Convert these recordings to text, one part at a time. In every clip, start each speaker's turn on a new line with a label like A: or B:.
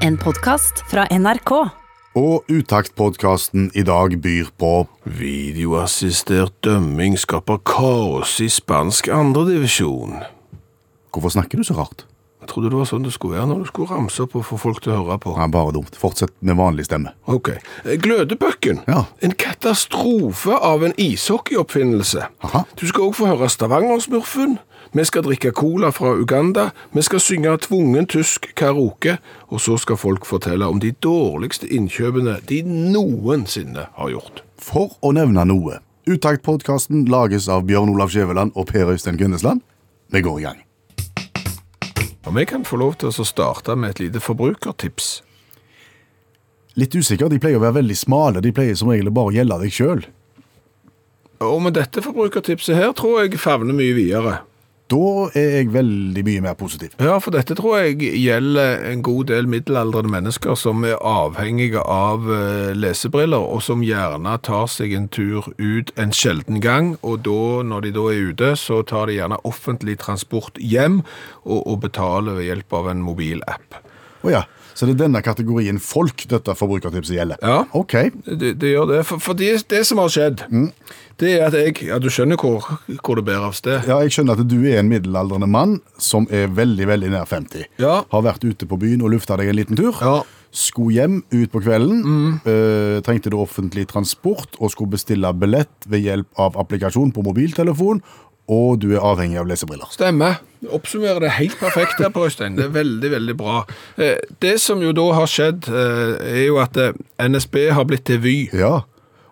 A: En podkast fra NRK.
B: Og Utaktpodkasten i dag byr på
C: Videoassistert dømming skaper kaos i spansk andredivisjon.
B: Hvorfor snakker du så rart?
C: Jeg trodde det var sånn det skulle være når du skulle ramse opp og få folk til å høre på.
B: Ja, bare dumt. Fortsett med vanlig stemme.
C: Ok. Glødebøkken.
B: Ja.
C: En katastrofe av en ishockeyoppfinnelse.
B: Aha.
C: Du skal også få høre Stavangersmurfen. Vi skal drikke cola fra Uganda. Vi skal synge tvungen tysk karaoke. Og så skal folk fortelle om de dårligste innkjøpene de noensinne har gjort.
B: For å nevne noe. Utaktpodkasten lages av Bjørn Olav Skjæveland og Per Øystein Kvindesland. Vi går i gang.
C: Om jeg kan få lov til å starte med et lite forbrukertips.
B: Litt usikker. De pleier å være veldig smale. De pleier som regel å bare gjelde deg sjøl.
C: Og med dette forbrukertipset her tror jeg favner mye videre.
B: Da er jeg veldig mye mer positiv.
C: Ja, for dette tror jeg gjelder en god del middelaldrende mennesker som er avhengige av eh, lesebriller, og som gjerne tar seg en tur ut en sjelden gang, og da, når de da er ute, så tar de gjerne offentlig transport hjem, og, og betaler ved hjelp av en mobilapp.
B: Å ja. Så det er denne kategorien folk dette forbrukertipset gjelder?
C: Ja.
B: Ok.
C: Det, det gjør det, for, for det, det som har skjedd, det er at jeg, ja du skjønner hvor, hvor det bærer av sted.
B: Ja, Jeg skjønner at du er en middelaldrende mann som er veldig veldig nær 50.
C: Ja.
B: Har vært ute på byen og lufta deg en liten tur.
C: Ja.
B: Skulle hjem ut på kvelden. eh, trengte du offentlig transport og skulle bestille billett ved hjelp av applikasjon på mobiltelefon. Og du er avhengig av lesebriller.
C: Stemmer. Oppsummerer det helt perfekt her, Øystein. Det er veldig, veldig bra. Eh, Det som jo da har skjedd, eh, er jo at eh, NSB har blitt til Vy.
B: Ja.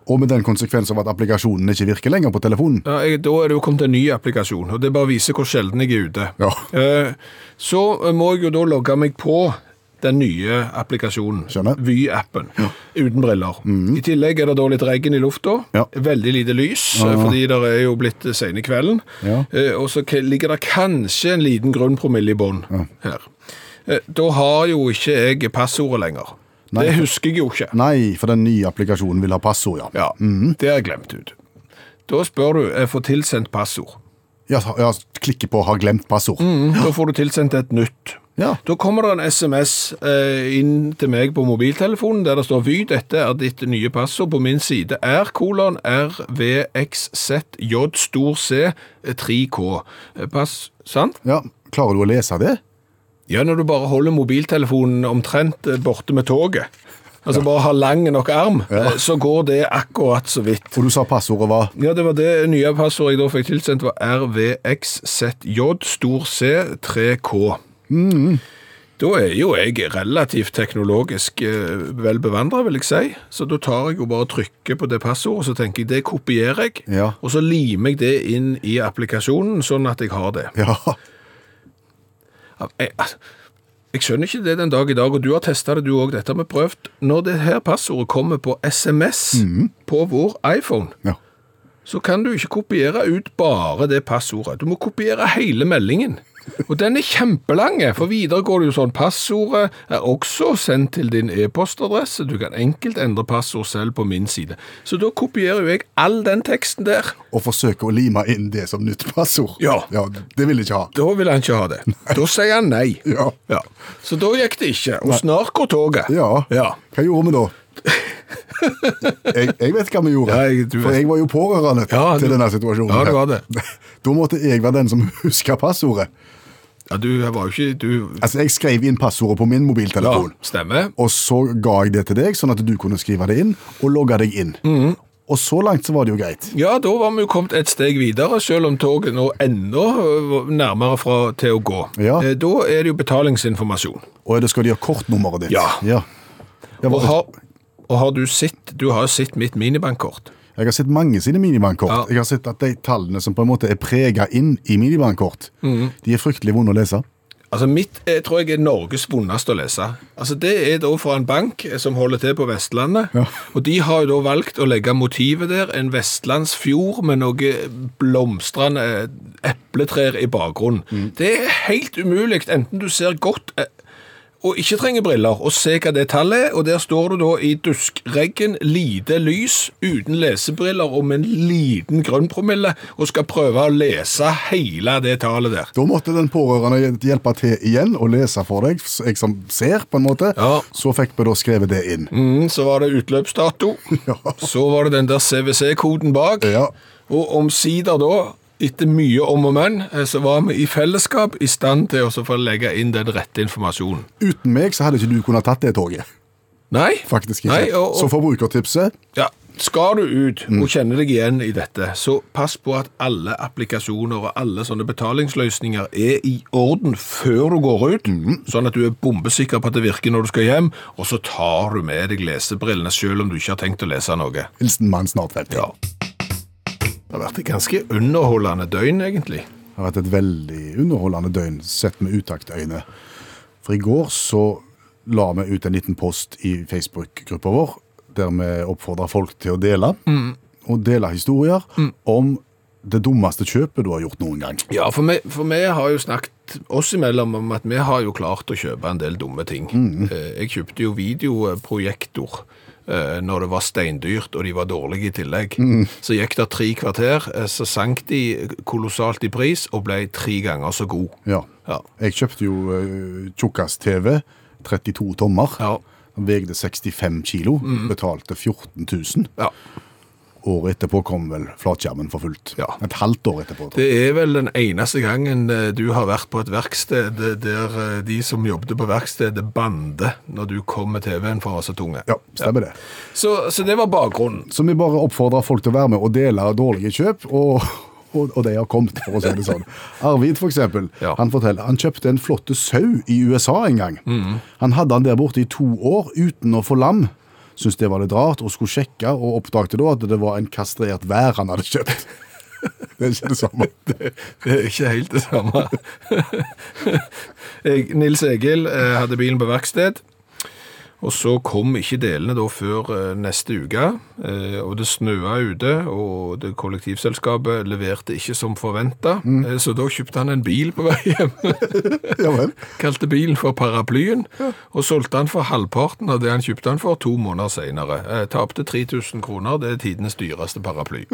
B: Og med den konsekvens av at applikasjonen ikke virker lenger på telefonen.
C: Ja, jeg, da er det jo kommet en ny applikasjon, og det bare viser hvor sjelden jeg er ute.
B: Ja.
C: Eh, Så eh, må jeg jo da logge meg på den nye applikasjonen,
B: Skjønner. Mhm.
C: Vy-appen, uten briller. I tillegg er det da litt regn i lufta,
B: Ja.
C: veldig lite lys, eh, fordi det er jo blitt eh, sene kvelden,
B: Ja.
C: Eh, og så k- ligger det kanskje en liten grunn promille i bånd her. Eh, Da har jo ikke jeg passordet lenger.
B: Nei.
C: Det husker jeg jo ikke.
B: Nei, for den nye applikasjonen vil ha passord, ja.
C: Ja, det har jeg glemt ut. Da spør du, jeg får tilsendt passord. Mhm,
B: Ja, ja Klikke på 'har glemt passord'.
C: Da får du tilsendt et nytt.
B: Ja.
C: Da kommer det en SMS eh, inn til meg på mobiltelefonen der det står Vy, dette er ditt nye passord. På min side er kolon RVXZJ stor C eh, 3K. Eh, Pass, sant?
B: ja. Klarer du å lese det?
C: Ja, når du bare holder mobiltelefonen omtrent eh, borte med toget, altså bare har lang nok arm, eh, så går det akkurat så vidt.
B: Og du sa passordet var
C: Ja, det var det nye passordet jeg da fikk tilsendt, var RVXZJ, stor C, 3K. Da er jo jeg relativt teknologisk eh, vel bevandra, vil jeg si. Så da tar jeg jo bare trykket på det passordet, så tenker jeg det kopierer jeg.
B: Ja.
C: Og så limer jeg det inn i applikasjonen, sånn at jeg har det.
B: Ja.
C: Jeg, altså, jeg skjønner ikke det den dag i dag, og du har testa det du òg, dette har vi prøvd. Når det her passordet kommer på SMS på vår iPhone
B: ja.
C: så kan du ikke kopiere ut bare det passordet. Du må kopiere hele meldingen. Og den er kjempelang, for videre går det jo sånn passordet er også sendt til din e-postadresse. Du kan enkelt endre passord selv på min side. Så da kopierer jo jeg all den teksten der.
B: Og forsøke å lime inn det som nytt passord.
C: Ja.
B: det vil jeg ikke ha.
C: Da vil han ikke ha det. Da sier han nei.
B: Ja.
C: Ja. Så da gikk det ikke. Og snart går toget.
B: Ja.
C: ja.
B: Hva gjorde vi da? Jeg, jeg vet hva vi gjorde,
C: Ja, jeg- du
B: for
C: vet.
B: jeg var jo pårørende
C: Ja,
B: til
C: du-
B: denne situasjonen.
C: Ja,
B: her.
C: du var det.
B: Da måtte jeg være den som huska passordet.
C: ja du var jo ikke Du
B: Altså, Jeg skrev inn passordet på min
C: Ja,
B: mobiltelefon,
C: stemmer.
B: og så ga jeg det til deg, sånn at du kunne skrive det inn og logge deg inn.
C: Mhm.
B: Og så langt så var det jo greit.
C: Ja, da var vi jo kommet et steg videre, selv om toget nå enda øh, nærmere fra til å gå.
B: Ja.
C: Eh, Da er det jo betalingsinformasjon.
B: Og da skal de ha kortnummeret ditt.
C: Ja.
B: ja. Jeg,
C: Og
B: var,
C: har, og har du sett, du har jo sett mitt minibankkort.
B: jeg har sett mange sine minibankkort.
C: Ja.
B: Jeg har sett at de tallene som på en måte er prega inn i minibankkort,
C: Mhm.
B: de er fryktelig vonde å lese.
C: Altså mitt eh, tror jeg er Norges vondeste å lese. Altså det er da fra en bank eh, som holder til på Vestlandet, og de har jo da valgt å legge motivet der, en vestlandsfjord med noe blomstrende eh, epletrær i bakgrunnen. Det er helt umulig, enten du ser godt eh, og ikke trenger briller, og se hva det tallet er. Og der står du da i duskreggen, lite lys, uten lesebriller og med en liten grønn promille, og skal prøve å lese hele det tallet der.
B: Da måtte den pårørende hjelpe til igjen og lese for deg, s- jeg som ser, på en måte.
C: Ja.
B: Så fikk vi da skrevet det inn.
C: Mm, så var det utløpsdato. Så var det den der CWC-koden bak.
B: Ja.
C: Og omsider da, etter mye om og men, eh, så var vi i fellesskap i stand til å så få legge inn den rette informasjonen.
B: Uten meg så hadde ikke du kunnet tatt det toget.
C: Nei,
B: Faktisk ikke.
C: Nei, og, og,
B: Så forbrukertipset
C: ja, skal du ut
B: Mm.
C: og kjenne deg igjen i dette, så pass på at alle applikasjoner og alle sånne betalingsløsninger er i orden før du går ut,
B: Mm.
C: sånn at du er bombesikker på at det virker når du skal hjem, og så tar du med deg lesebrillene selv om du ikke har tenkt å lese noe.
B: Hilsen mann snart 50.
C: Ja. Det har vært et ganske underholdende døgn, egentlig.
B: Det har vært et veldig underholdende døgn sett med utaktøyne. For i går så la vi ut en liten post i Facebook-gruppa vår der vi oppfordrer folk til å dele.
C: Mm.
B: Og dele historier om det dummeste kjøpet du har gjort noen gang.
C: Ja, for vi, for vi har jo snakket oss imellom om at vi har jo klart å kjøpe en del dumme ting. Eh, Jeg kjøpte jo videoprojektor eh, når det var steindyrt og de var dårlige i tillegg. Så gikk det tre kvarter, eh, så sank de kolossalt i pris og ble tre ganger så god.
B: Ja.
C: Ja.
B: Jeg kjøpte jo eh, tjukkas-TV, 32 tommer.
C: Ja.
B: Den Vegde 65 kilo, betalte 14 000.
C: ja.
B: Året etterpå kom vel flatskjermen for fullt.
C: Ja.
B: Et halvt år etterpå. tror jeg.
C: Det er vel den eneste gangen eh, du har vært på et verksted der eh, de som jobbet på verkstedet bander når du kom med TV-en for å være så tunge.
B: Ja, stemmer det.
C: Så, så det var bakgrunnen.
B: Så vi bare oppfordrer folk til å være med og dele dårlige kjøp, og, og, og de har kommet, for å si det sånn. Arvid, for eksempel,
C: Ja.
B: han forteller han kjøpte en flotte sau i USA en gang. Han hadde han der borte i to år uten å få lam. Syntes det var litt rart, og skulle sjekke, og oppdagte da at det var en kastrert vær han hadde kjøpt. Det er ikke det samme.
C: Det er ikke helt det samme. Jeg, Nils Egil eh, hadde bilen på verksted, og så kom ikke delene da før eh, neste uke. eh, Og det snøa ute, og det kollektivselskapet leverte ikke som forventa. Så da kjøpte han en bil på vei hjem.
B: Ja vel.
C: Kalte bilen for Paraplyen, og solgte den for halvparten av det han kjøpte den for to måneder senere. Eh, Tapte 3000 kroner. Det er tidenes dyreste paraply.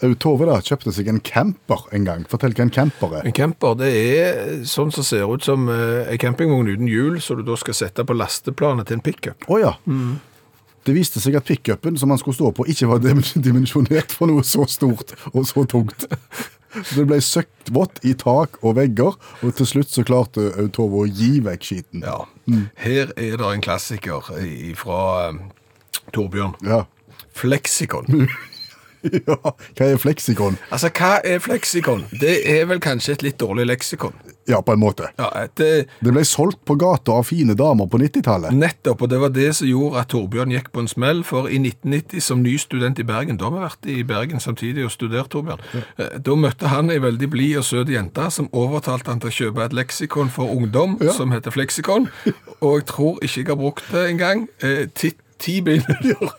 B: Au Tove da, kjøpte seg en camper en gang. Fortell hva en camper er.
C: En camper det er sånn som ser ut som eh, en campingvogn uten hjul, som du da skal sette på lasteplanet til en pickup.
B: Å ja. Det viste seg at pickupen som han skulle stå på, ikke var dim- dimensjonert for noe så stort og så tungt. Det ble søkkvått i tak og vegger, og til slutt så klarte Autovo å gi vekk skiten.
C: Ja. Her er det en klassiker fra Torbjørn.
B: Ja.
C: Fleksikon.
B: Ja, Hva er fleksikon?
C: Altså, hva er fleksikon? Det er vel kanskje et litt dårlig leksikon.
B: Ja, på en måte.
C: Ja, det,
B: Det ble solgt på gata av fine damer på 90-tallet.
C: Nettopp, og det var det som gjorde at Torbjørn gikk på en smell, for i 1990 som ny student i Bergen, da har vi vært i Bergen samtidig og studert, Torbjørn, eh, da møtte han ei veldig blid og søt jente som overtalte han til å kjøpe et leksikon for ungdom som heter Fleksikon, og jeg tror ikke jeg har brukt det engang. Eh, ti, ti bilder.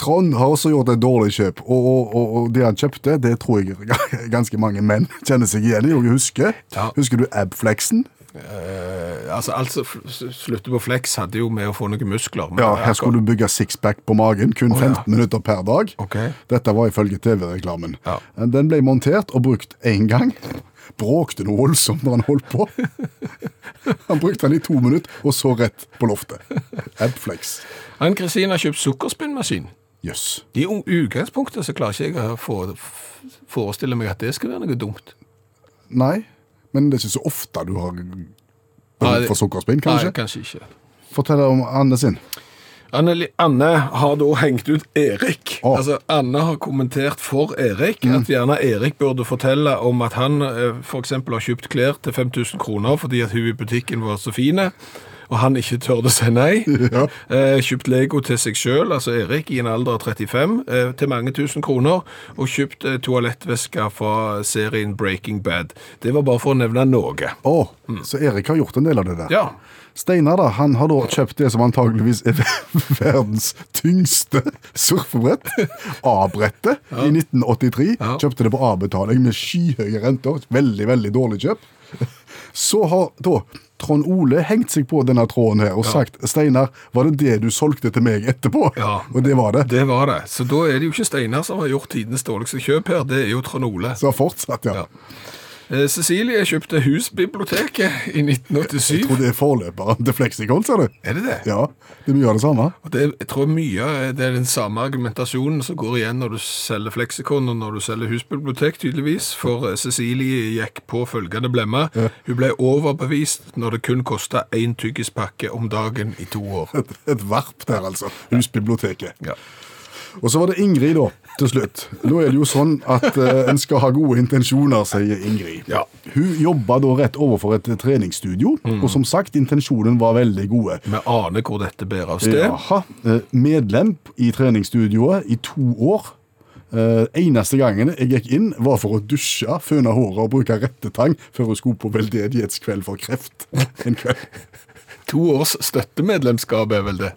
B: Trond har også gjort et dårlig kjøp, og, og, og, og det han kjøpte, det tror jeg ganske mange menn kjenner seg igjen i og husker.
C: Ja.
B: Husker du abflexen?
C: Eh, altså, alt som fl- s- slutter på Flex hadde jo med å få noen muskler. men-
B: Ja, her skulle du bygge sixpack på magen, kun 15 minutter per dag.
C: Ok.
B: Dette var ifølge TV-reklamen.
C: Ja.
B: Den ble montert og brukt én gang. Bråkte noe voldsomt når han holdt på. Han brukte den i to minutter, og så rett på loftet. Abflex.
C: Ann-Kristin har kjøpt sukkerspinnmaskin.
B: Jøss.
C: I u- utgangspunktet så klarer ikke jeg å få- f- forestille meg at det skal være noe dumt.
B: Nei, men det er ikke så ofte du har
C: Nei,
B: behov for sukkerspinn, kanskje?
C: Nei, kanskje ikke.
B: Fortell om Anne sin.
C: Anne, Li- Anne har da hengt ut Erik.
B: Å. Mm.
C: Altså, Anne har kommentert for Erik at gjerne Erik burde fortelle om at han eh, for eksempel har kjøpt klær til 5000 kroner fordi at hun i butikken var så fine, og han ikke tørde å si nei.
B: Ja.
C: Eh, kjøpt Lego til seg sjøl, altså Erik, i en alder av 35, eh, til mange tusen kroner. Og kjøpt eh, toalettveske fra serien Breaking Bad. Det var bare for å nevne noe.
B: Å, så Erik har gjort en del av det der.
C: Ja.
B: Steinar da, han har da kjøpt det som antageligvis er verdens tyngste surfebrett, A-brettet, i 1983.
C: Ja.
B: Kjøpte det på A-betaling med skyhøye renter. Veldig, veldig dårlig kjøp. Så har da Trond Ole hengt seg på denne tråden her og sagt Steinar, var det det du solgte til meg etterpå?
C: Ja.
B: Og det var det.
C: Det var det. Så da er det jo ikke Steinar som har gjort tidenes dårligste kjøp her, det er jo Trond Ole.
B: Så fortsatt, ja.
C: Ja. Eh, Cecilie kjøpte Husbiblioteket i
B: Jeg
C: 1987.
B: tror det er forløperen til Flexicon, ser du.
C: Er det det?
B: Ja, det er mye av det samme.
C: Og det, jeg tror mye av- det er den samme argumentasjonen som går igjen når du selger fleksikon og når du selger husbibliotek, tydeligvis. For eh, Cecilie gikk på følgende blemme. Hun ble overbevist når det kun kosta én tyggispakke om dagen i to år.
B: Et, et varp der, altså. Husbiblioteket.
C: Ja.
B: Og så var det Ingrid, da, til slutt. Nå er det jo sånn at eh, en skal ha gode intensjoner, sier Ingrid.
C: Ja.
B: Hun jobba da rett overfor et treningsstudio, og som sagt, intensjonen var veldig gode.
C: Vi aner hvor dette bærer av sted.
B: Jaha. Eh, Medlem i treningsstudioet i to år. Eh, eneste gangen jeg gikk inn, var for å dusje, føne håret og bruke rettetang før hun skulle på veldedighetskveld for kreft. En kveld.
C: To års støttemedlemskap er vel det.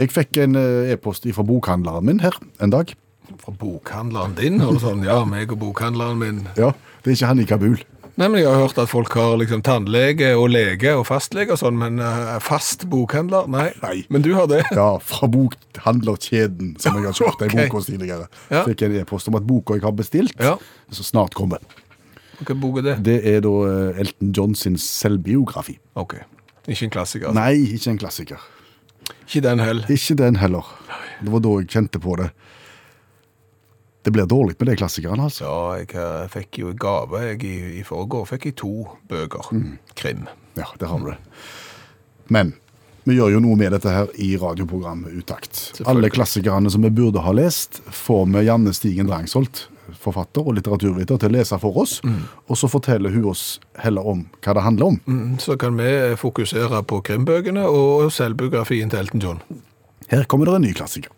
B: Jeg fikk en eh, e-post fra bokhandleren min her en dag.
C: Fra bokhandleren din? Og sånn, ja, meg og bokhandleren min.
B: Ja, Det er ikke han i Kabul.
C: Nei, men Jeg har hørt at folk har liksom tannlege og lege og fastlege og sånn, men eh, fast bokhandler? Nei.
B: Nei.
C: Men du har det?
B: Ja, fra bokhandlerkjeden som jeg har kjøpt ei
C: Ok.
B: bok hos tidligere.
C: Ja.
B: Fikk en e-post om at boka jeg har bestilt,
C: Ja.
B: så snart kommer.
C: Hva bok er det?
B: Det er da eh, Elton John sin selvbiografi.
C: Ok. Ikke en klassiker.
B: Nei, ikke en klassiker.
C: Ikke den heller.
B: Ikke den heller. Det var da jeg kjente på det. Det blir dårlig med de klassikerne, altså.
C: Ja, jeg eh, fikk jo i gave jeg, i, i forgår fikk jeg to bøker.
B: Mm.
C: Krim.
B: Ja, der har du det. Men vi gjør jo noe med dette her i radioprogrammet Utakt. Alle klassikerne som vi burde ha lest, får vi Janne Stigen Drangsholt, forfatter og litteraturviter, til å lese for oss. Og så forteller hun oss heller om hva det handler om.
C: Mm, Så kan vi fokusere på krimbøkene og selvbiografien til Elton John.
B: Her kommer det en ny klassiker.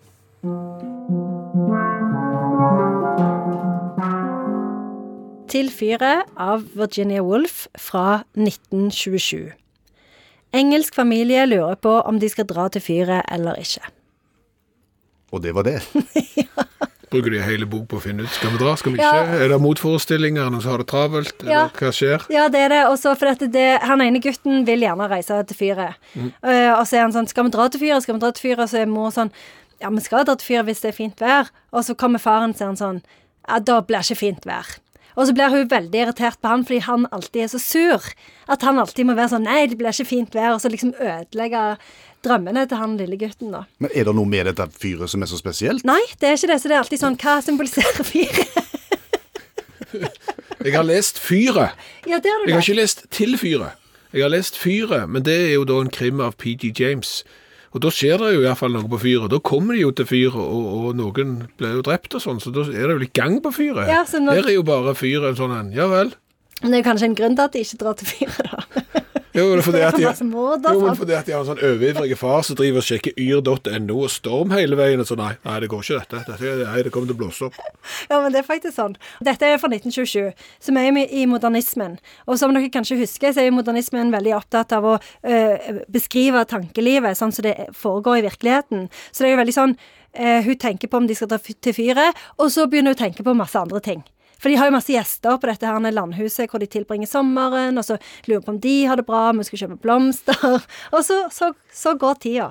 D: Til fire av Virginia Woolf fra 1927. Engelsk familie lurer på om de skal dra til fyret eller ikke.
B: Og det var det.
C: Bruker de hele bok på å finne ut skal vi dra, skal vi ikke?
D: Ja.
C: Er det motforestillinger, noen som har det travelt,
D: Ja.
C: eller hva skjer?
D: Ja, det er det. Og så for dette, det, han ene gutten vil gjerne reise til fyret.
C: Mm.
D: Eh, og så er han sånn Skal vi dra til fyret? Skal vi dra til fyret? Og så er mor sånn Ja, vi skal dra til fyret hvis det er fint vær. Og så kommer faren, sier han sånn Ja, da blir ikke fint vær. Og så blir hun veldig irritert på han fordi han alltid er så sur. At han alltid må være sånn Nei, det blir ikke fint vær. Og så liksom ødelegge drømmene til han lille gutten, da.
B: Men er det noe med dette fyret som er så spesielt?
D: Nei, det er ikke det. Så det er alltid sånn Hva symboliserer fyret?
C: Jeg har lest Fyret.
D: ja, det er det.
C: Jeg har ikke lest Til fyret. Jeg har lest Fyret, men det er jo da en krim av PG James. Og da skjer det jo iallfall noe på fyret. Da kommer de jo til fyret, og, og noen blir jo drept og sånn, så da er det jo litt gang på fyret.
D: Ja, så når-
C: Her er jo bare fyret en sånn en. Ja vel.
D: Men det er jo kanskje en grunn til at de ikke drar til fyret, da.
C: Jo, men fordi at de,
D: Det er masse mord, da,
C: jo, men
D: sant?
C: fordi at de har en sånn overivrig far som driver og sjekker yr.no og Storm hele veien. og Så nei, nei, det går ikke dette. dette nei, det kommer til å blåse opp.
D: Ja, men det er faktisk sånn. Dette er fra 1927, som er med i modernismen. Og som dere kanskje husker, så er jo modernismen veldig opptatt av å øh, beskrive tankelivet sånn som det foregår i virkeligheten. Så det er jo veldig sånn øh, Hun tenker på om de skal ta fy- til fyret, og så begynner hun å tenke på masse andre ting. For de har jo masse gjester på dette her landhuset hvor de tilbringer sommeren, og så lurer på om de har det bra, om hun skal kjøpe blomster Og så, så, så går tida.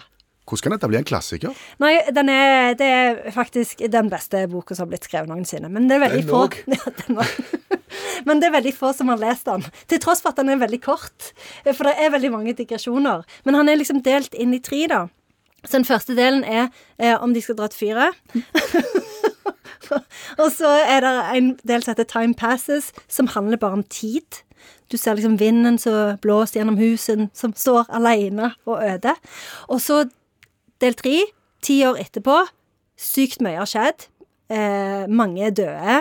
B: Hvordan kan dette bli en klassiker?
D: Nei, den er, det er faktisk den beste boka som har blitt skrevet noensinne. Men det er veldig
C: Den
D: få
C: òg.
D: Ja, den òg. Men det er veldig få som har lest den. Til tross for at den er veldig kort. For det er veldig mange digresjoner. Men han er liksom delt inn i tre, da. Så den første delen er eh, om de skal dra til fyret. Og så er det en del som heter Time Passes, som handler bare om tid. Du ser liksom vinden som blåser gjennom husen, som står aleine og øde. Og så Del tre, ti år etterpå. Sykt mye har skjedd. Eh, mange er døde.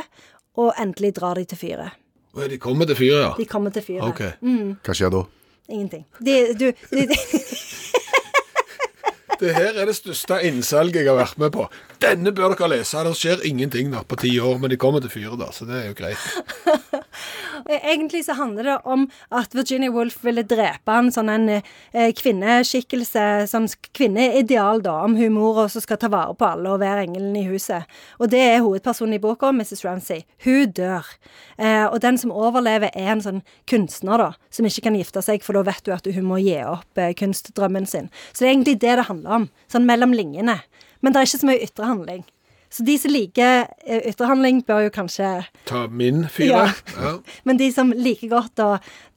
D: Og endelig drar de til fyret.
C: Og de kommer til fyret, ja.
D: De kommer til fyret.
C: Ok.
B: Hva skjer da?
D: Ingenting. De, du, de, de,
C: Det her er det største innsalget jeg har vært med på. Denne bør dere lese. Det skjer ingenting da på ti år, men de kommer til fyret, da, så det er jo greit.
D: Eh, Egentlig så handler det om at Virginia Woolf ville drepe en sånn en eh, kvinneskikkelse, sånn sk- kvinneideal, da, om hun mora som skal ta vare på alle og være engelen i huset. Og det er hovedpersonen i boka, Mrs. Ramsay. Hun dør. Eh, og den som overlever, er en sånn kunstner, da, som ikke kan gifte seg, for da vet hun at hun må gi opp eh, kunstdrømmen sin. Så det er egentlig det det handler om, sånn mellom linjene. Men det er ikke så mye ytre handling. Så de som liker eh, ytre handling, bør jo kanskje
C: Ta min fyre.
D: Ja.
C: Ja.
D: men de som liker godt å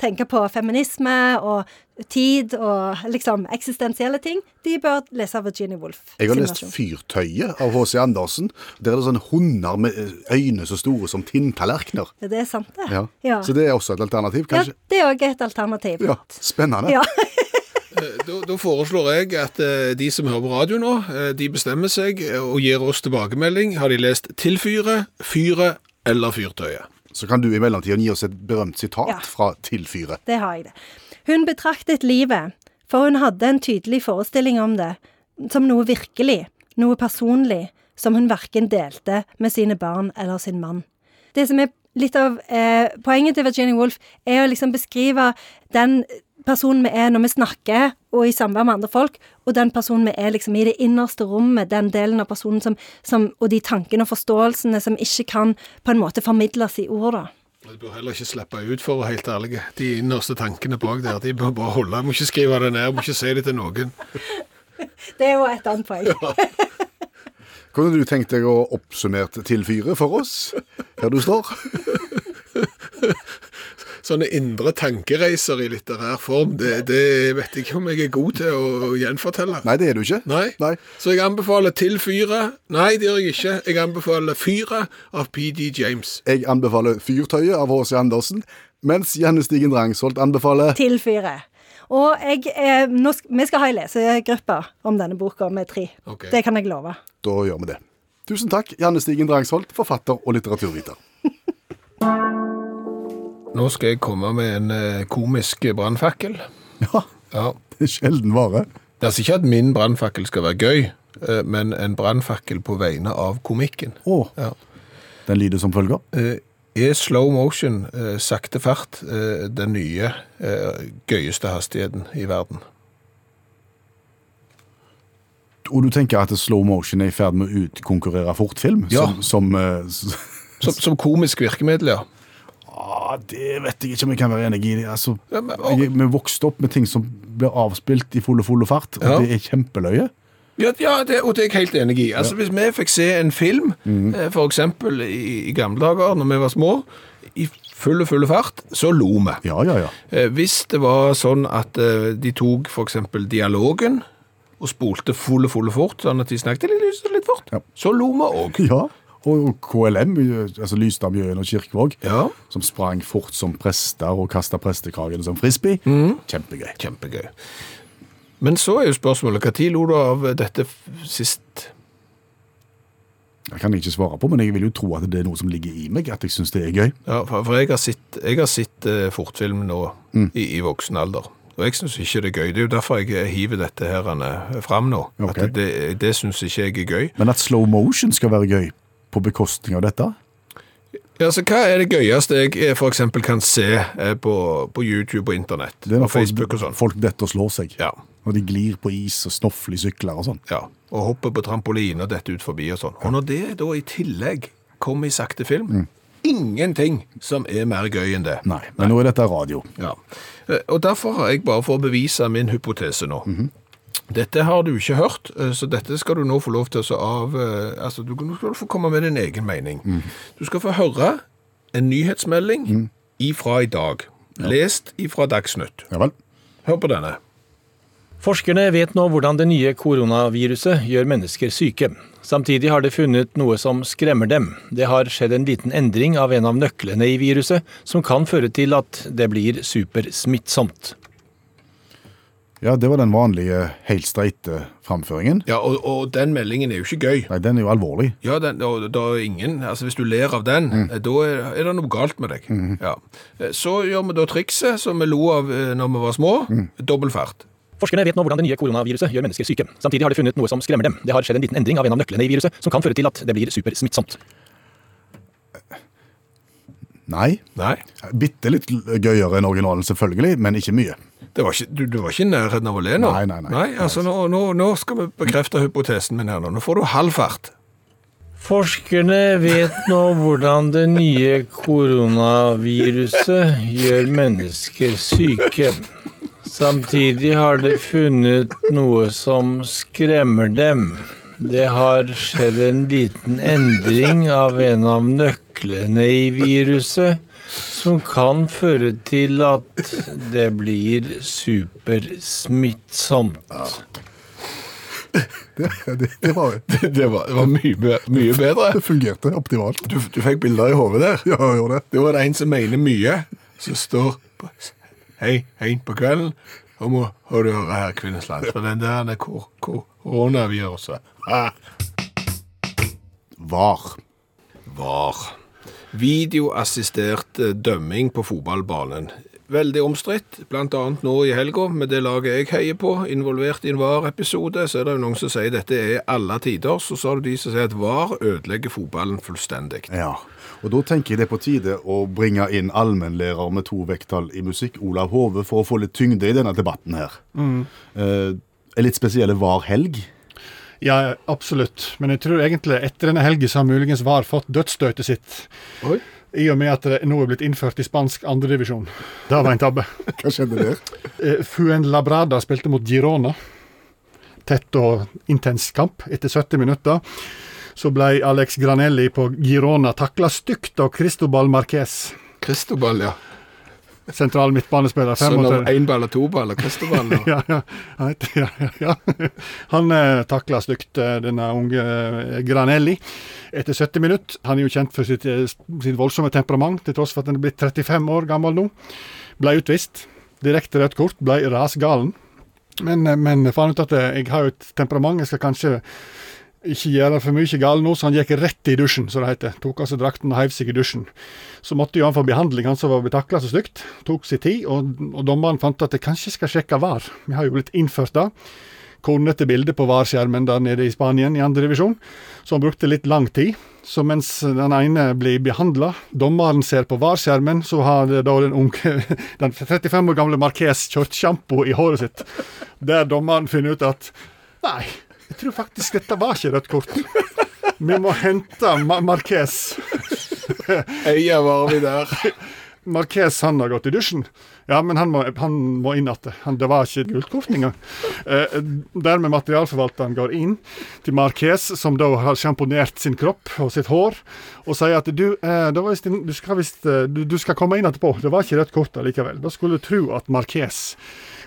D: tenke på feminisme og tid og liksom eksistensielle ting, de bør lese Virginia Woolf.
B: Jeg har
D: sin
B: lest
D: versjon.
B: Fyrtøyet av H.C. Andersen. Der er det sånne hunder med øyne så store som tinntallerkener.
D: Ja, det er sant, det.
B: Ja.
D: Ja.
B: Så det er også et alternativ,
D: Ja,
B: kanskje?
D: det er òg et alternativ.
B: Ja, Spennende.
D: Ja.
C: Eh, Da, da foreslår jeg at eh, de som hører på radio nå, eh, de bestemmer seg eh, og gir oss tilbakemelding. Har de lest Til fyret, Fyret eller Fyrtøyet?
B: Så kan du i mellomtiden gi oss et berømt sitat
D: Ja.
B: fra Til fyret.
D: Det har jeg det. Hun betraktet livet, for hun hadde en tydelig forestilling om det, som noe virkelig, noe personlig, som hun verken delte med sine barn eller sin mann. Det som er litt av eh, poenget til Virginia Woolf, er å liksom beskrive den personen vi er når vi snakker og i samvær med andre folk, og den personen vi er liksom i det innerste rommet, den delen av personen som, som Og de tankene og forståelsene som ikke kan på en måte formidles i ord, da.
C: De bør heller ikke slippe ut, for å være helt ærlig. De innerste tankene bak der, de bør bare holde. Må ikke skrive det ned, må ikke si det til noen.
D: Det er jo et annet poeng.
B: Kunne du tenkt deg å oppsummere Til fyret for oss, her du står?
C: Sånne indre tankereiser i litterær form, det, det vet jeg ikke om jeg er god til å gjenfortelle.
B: Nei, det er du ikke.
C: Nei.
B: Nei.
C: Så jeg anbefaler Til fyret. Nei, det gjør jeg ikke. Jeg anbefaler Fyret av PD James.
B: Jeg anbefaler Fyrtøyet av H.C. Andersen, mens Janne Stigen Drangsholt anbefaler
D: til fyret. Og jeg, eh, nå, sk- vi skal ha en lesegruppe om denne boka med tre.
C: Ok.
D: Det kan jeg love.
B: Da gjør vi det. Tusen takk, Janne Stigen Drangsholt, forfatter og litteraturviter.
C: Nå skal jeg komme med en eh, komisk brannfakkel.
B: Ja,
C: Ja.
B: det er sjelden vare.
C: Altså ikke at min brannfakkel skal være gøy, eh, men en brannfakkel på vegne av komikken.
B: Å,
C: Ja.
B: den lyder som følger.
C: Eh, Er slow motion, eh, sakte fart, eh, den nye eh, gøyeste hastigheten i verden?
B: Og du tenker at slow motion er i ferd med å utkonkurrere fortfilm?
C: Ja.
B: Som, som eh, s-
C: Som, som komisk virkemiddel, ja.
B: ah, Det vet jeg ikke om jeg kan være enig i. Altså,
C: Ja, men-
B: jeg, vi vokste opp med ting som blir avspilt i fulle, fulle fart, og
C: Ja.
B: det er kjempeløye.
C: Ja, ja det, og det er jeg helt enig i. Altså, Hvis vi fikk se en film, eh, for eksempel i, i gamle dager når vi var små, i full og full fart, så lo vi.
B: Ja, ja, ja.
C: Eh, Hvis det var sånn at eh, de tok for eksempel dialogen og spolte fulle, fulle fort, sånn at de snakket litt, litt, litt fort,
B: Ja.
C: så lo vi òg.
B: ja. Og og KLM, altså Lystadbjøen og Kirkevåg,
C: Ja.
B: som sprang fort som prester og kasta prestekragen som frisbee.
C: Mm.
B: Kjempegøy.
C: Kjempegøy. Men så er jo spørsmålet, når lo du av dette f- sist?
B: Det kan jeg ikke svare på, men jeg vil jo tro at det er noe som ligger i meg, at jeg syns det er gøy.
C: Ja, for, for jeg har sett, jeg har sett eh, fortfilm nå
B: Mm.
C: i, i voksen alder. Og jeg syns ikke det er gøy. Det er jo derfor jeg hiver dette her eh, fram nå.
B: Ok.
C: At det det syns ikke jeg er gøy.
B: Men at slow motion skal være gøy på bekostning av dette?
C: Ja, så Hva er det gøyeste jeg f.eks. kan se eh, på, på YouTube og internett?
B: Det er når
C: Og Facebook og
B: folk,
C: sånn.
B: folk detter og slår seg.
C: Ja,
B: Når de glir på is og snofler i sykler og sånn.
C: ja. Og hoppe på trampoline og dette ut forbi og sånn. Og når det da i tillegg kommer i sakte film
B: Mm.
C: Ingenting som er mer gøy enn det.
B: Nei, men nå er dette radio.
C: Ja. Eh, Og derfor har jeg bare for å bevise min hypotese nå. Dette har du ikke hørt, eh, så dette skal du nå få lov til å så av... eh, Altså, du nå skal du få komme med din egen mening. Du skal få høre en nyhetsmelding ifra i dag. Lest ifra Dagsnytt.
B: Ja vel.
C: Hør på denne.
E: Forskerne vet nå hvordan det nye koronaviruset gjør mennesker syke. Samtidig har de funnet noe som skremmer dem. Det har skjedd en liten endring av en av nøklene i viruset, som kan føre til at det blir supersmittsomt.
B: Ja, det var den vanlige, helt streite framføringen.
C: Ja, og, og den meldingen er jo ikke gøy.
B: Nei, den er jo alvorlig.
C: Ja, den, og da er ingen, altså Hvis du ler av den, eh, da er, er det noe galt med deg. Ja. Eh, Så gjør vi da trikset som vi lo av eh, når vi var små. Dobbel fart.
E: Forskerne vet nå hvordan det nye koronaviruset gjør mennesker syke. Samtidig har de funnet noe som skremmer dem. Det har skjedd en liten endring av en av nøklene i viruset, som kan føre til at det blir supersmittsomt.
B: Nei.
C: Nei,
B: Bitte litt gøyere enn originalen, selvfølgelig, men ikke mye.
C: det var ikke, du, du var ikke i nærheten av å le nå.
B: Nei, nei, nei.
C: altså nå, nå, nå skal vi bekrefte hypotesen min her nå. Nå får du halv fart.
E: Forskerne vet nå hvordan det nye koronaviruset gjør mennesker syke. Samtidig har de funnet noe som skremmer dem. Det har skjedd en liten endring av en av nøklene i viruset, som kan føre til at det blir supersmittsomt.
B: Det, det, var, det
C: Det var, det var mye, be- mye bedre.
B: fungerte optimalt.
C: Du, du fikk bilder i hodet der.
B: Ja, jeg gjorde det.
C: Da er det en som mener mye, som står på, hei, hei på kvelden, og må og du høre her, Kvinnesland, for den der er kor- kor- koronaviruset. Ah.
B: Var.
C: Var. Videoassistert eh, dømming på fotballbanen. Veldig omstridt, blant annet nå i helga, med det laget jeg heier på, involvert i en VAR-episode, så er det jo noen som sier dette er alle tider, så sa det de som sier at VAR ødelegger fotballen fullstendig.
B: Ja. Og da tenker jeg det er på tide å bringe inn allmennlærer med to vekttall i musikk, Olav Hove, for å få litt tyngde i denne debatten her. Eh, en litt spesielle var-helg.
F: Ja, absolutt. Men jeg tror egentlig etter denne helgen så har muligens VAR fått dødsstøtet sitt.
C: Oi.
F: I og med at det nå er blitt innført i spansk andredivisjon. Det var en tabbe.
B: Hva skjedde der?
F: Eh, Fuenlabrada spilte mot Girona. Tett og intens kamp. Etter 70 minutter så ble Alex Granelli på Girona takla stygt av Cristobal Marquez.
C: Kristoball, ja.
F: Sentral midtbanespiller.
C: Sånn av
F: 35.
C: énball og toball og Kristoball. og-
F: ja, ja, Han heter- ja, ja, ja. Han eh, takla stygt eh, denne unge eh, Granelli etter 70 minutter. Han er jo kjent for sitt, eh, sitt voldsomme temperament, til tross for at han er blitt 35 år gammel nå. Ble utvist. Direkte rødt kort. Ble rasgalen. Men, eh, men fant ut at eh, jeg har jo et temperament, jeg skal kanskje ikke gjøre for mye galt nå, så han gikk rett i dusjen, som det heter. Tok av seg drakten og heiv seg i dusjen. Så måtte jo han få behandling, han som var blitt takla så stygt. Tok sin tid, og, og dommeren fant at det kanskje skal sjekke VAR. Vi har jo blitt innført det. Kornete bilde på VAR-skjermen der nede i Spanien, i andre divisjon, så han brukte litt lang tid. Så mens den ene blir behandla, dommeren ser på VAR-skjermen, så har det da den unge, den 35 år gamle Marques kjørt sjampo i håret sitt. Der dommeren finner ut at Nei, jeg tror faktisk dette var ikke rødt kort. Vi må hente Ma Marques.
C: Eia var vi der.
F: Marquez han har gått i dusjen. Ja, men han må, han må inn igjen. Det var ikke gult kort engang. Eh, dermed materialforvalteren går inn til Marquez, som da har sjamponert sin kropp og sitt hår, og sier at du, eh, det var visst en- du, skal, visst, eh, du, du skal komme inn etterpå. Det var ikke rødt kort allikevel. Da skulle du tro at Marquez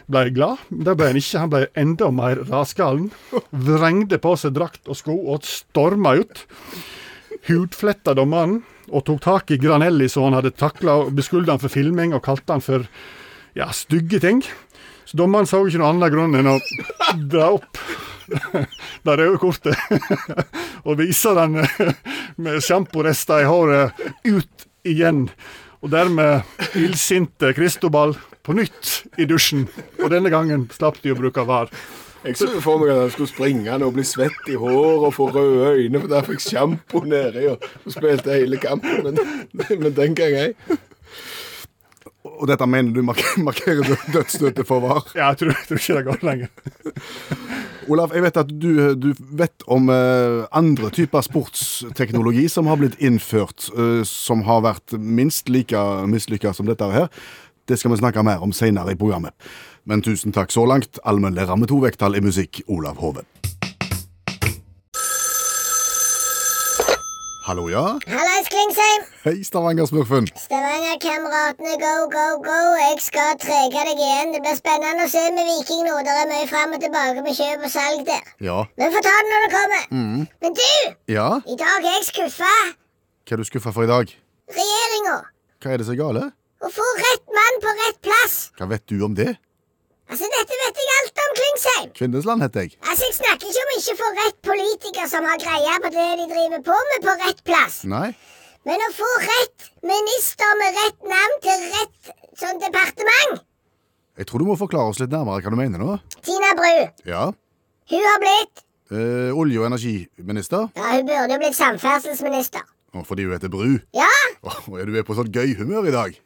F: ble glad. men Det ble han ikke. Han ble enda mer rasgalen. Vrengte på seg drakt og sko og storma ut hudfletta dommeren og tok tak i Granelli, så han hadde takla og beskyldt han for filming og kalte han for ja, stygge ting. Så dommeren så ikke noen annen grunn enn å dra opp det røde kortet og vise den med sjamporester i håret ut igjen. Og dermed illsinte Kristobal på nytt i dusjen. Og denne gangen slapp de å bruke var.
G: Jeg så jo for meg at han skulle springe nå og bli svett i håret og få røde øyne, for der fikk sjampo nedi og og spilte hele kampen. Men, men den gang ei.
B: Og dette mener du mark markerer død- dødsstøtet for var?
F: Ja, jeg tror, jeg tror ikke det går lenger.
B: Olav, jeg vet at du, du vet om eh, andre typer sportsteknologi som har blitt innført, eh, som har vært minst like mislykka som dette her. Det skal vi snakke mer om senere i programmet. Men tusen takk så langt, allmennlærer med to vekttall i musikk, Olav Hove. Hallo, ja?
H: Hallais, Klingsheim!
B: Hei, Stavanger-smurfen.
H: Stavanger-kameratene, go, go, go! Jeg skal trege deg igjen. Det blir spennende å se med Viking nå. Det er mye fram og tilbake med kjøp og salg der.
B: Ja.
H: Men vi får ta det når det kommer.
G: Mm.
H: Men du!
B: Ja?
H: I dag er jeg skuffa.
B: Hva er du skuffa for i dag?
H: Regjeringa.
B: Hva er det som er gale?
H: Å få rett mann på rett plass.
B: Hva vet du om det?
H: Altså, dette vet jeg alt
B: Kvinnesland heter jeg.
H: Altså, Jeg snakker ikke om ikke å få rett politiker som har greie på det de driver på med, på rett plass.
B: Nei.
H: Men å få rett minister med rett navn til rett sånn departement.
B: Jeg tror du må forklare oss litt nærmere hva du mener nå.
H: Tina Bru,
B: Ja.
H: hun har blitt
B: Eh, olje- og energiminister.
H: Ja, hun burde jo blitt samferdselsminister.
B: Å, fordi hun heter Bru.
H: Ja,
B: Å, ja, du er på sånn gøy humør i dag.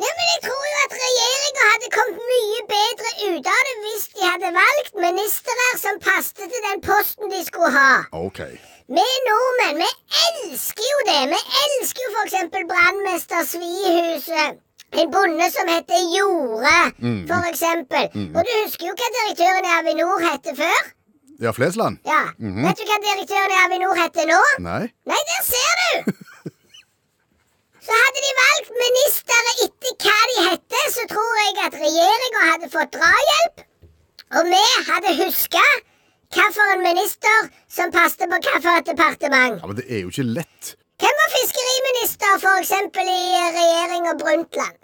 H: ja men jeg tror jo at regjeringa hadde kommet mye bedre ut av det hvis de hadde valgt ministre som passet til den posten de skulle ha.
B: OK.
H: Vi nordmenn, vi elsker jo det. Vi elsker jo f.eks. brannmester Svihuset. En bonde som heter Jorde, for eksempel. Og du husker jo hva direktøren i Avinor hette før?
B: Ja, Flesland?
H: Ja. Vet du hva direktøren i Avinor heter nå?
B: Nei.
H: Nei, der ser du! Så hadde de valgt ministre etter hva de hette, så tror jeg at regjeringa hadde fått drahjelp. Og vi hadde huska hvilken minister som passet på hvilket departement.
B: Ja, Men det er jo ikke lett.
H: Hvem var fiskeriminister for eksempel i regjeringa Brundtland?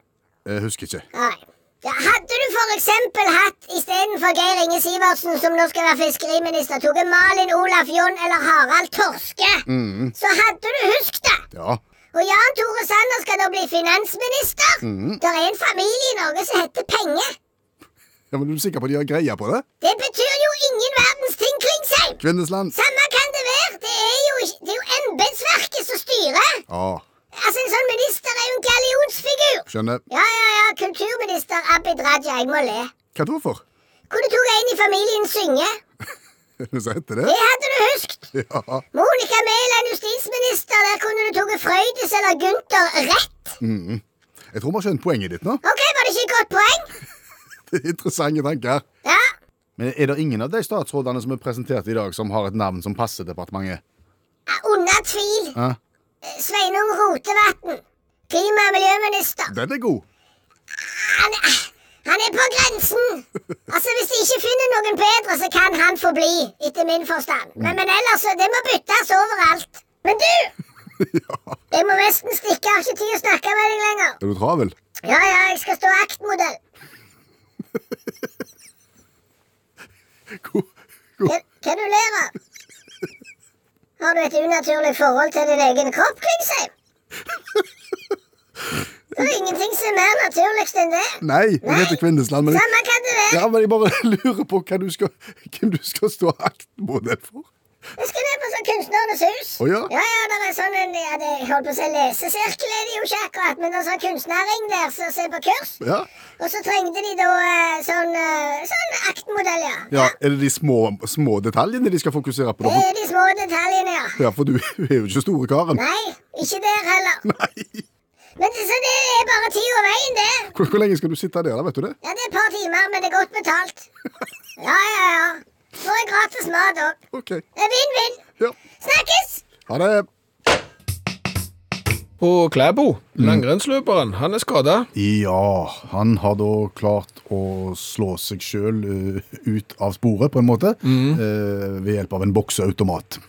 B: Jeg husker ikke.
H: Nei. Ja, hadde du for eksempel hatt istedenfor Geir Inge Sivertsen, som nå skal være fiskeriminister, tok Malin Olaf Jon eller Harald Torske, så hadde du husket det.
B: Ja.
H: Og Jan Tore Sanner skal nå bli finansminister. Det er en familie i Norge som heter Penge.
B: ja men er du sikker på at de har greie på det?
H: Det betyr jo ingen verdens ting kring seg.
B: Kvinnesland?
H: Samme kan det være. Det er jo, ikke- det er jo embetsverket som styrer.
B: Ja,
H: Altså, En sånn minister er jo en gallionsfigur.
B: skjønner.
H: Ja, ja, ja, kulturminister Abid Raja, jeg må le.
B: Hva da for?
H: Hvor du tok en i familien synge.
B: Så heter det?
H: Det hadde du husket.
B: Ja.
H: Monica Mæland, justisminister, der kunne du tatt Frøydis eller Gunther rett.
B: Jeg tror vi har skjønt poenget ditt nå.
H: Ok, var det ikke et godt poeng?
B: Det er Interessante tanker.
H: Ja.
B: Men er det ingen av de statsrådene som er presentert i dag, som har et navn som passer departementet?
H: Ja, Under tvil. Eh,
B: Ja.
H: Sveinung Rotevatn. Klima- og miljøminister.
B: Den er god.
H: Han, han er på grensen! Altså, Hvis de ikke finner noen bedre, så kan han få bli, etter min forstand. Men, men ellers, så- det må byttes overalt. Men du! Jeg må nesten stikke, jeg har ikke tid å snakke med deg lenger.
B: Er du travel?
H: Ja, ja, jeg skal stå aktmodell.
B: God.
H: Hva hva du ler av? Har du et unaturlig forhold til din egen kropp, Klingsheim? Det er ingenting som er mer naturlig enn det.
B: Nei, jeg heter Kvinnesland, men jeg,
H: Samme kan det være.
B: ja, men jeg bare lurer på hva du skal, hvem du skal stå aktmodell for.
H: Jeg skal ned på sånn Kunstnernes hus.
B: Å ja?
H: Ja, ja, det er sånn en, ja, det, jeg holdt på å si lesesirkel er det jo ikke akkurat, men det er sånn kunstnerring der som ser på kurs.
B: Ja.
H: Og så trengte de da eh, sånn, eh, sånn aktmodell, ja.
B: ja. Er det de små, små detaljene de skal fokusere på?
H: Det
B: Da?
H: er Eh, de små detaljene, ja.
B: Ja, for du er jo ikke store karen.
H: Nei, ikke der heller.
B: Nei.
H: Men det, så det er bare tid og veien, det.
B: Hvor, hvor lenge skal du sitte der, da, vet du det?
H: Ja, det er et par timer, men det er godt betalt. Ja, ja, ja. Får jeg gratis mat òg.
B: Ok.
H: Det er vinn-vinn.
B: Ja.
H: Snakkes!
B: Ha det.
C: Og Klæbo, langrennsløperen, han er skada.
B: Ja, han har da klart å slå seg sjøl ut av sporet, på en måte, eh, ved hjelp av en bokseautomat.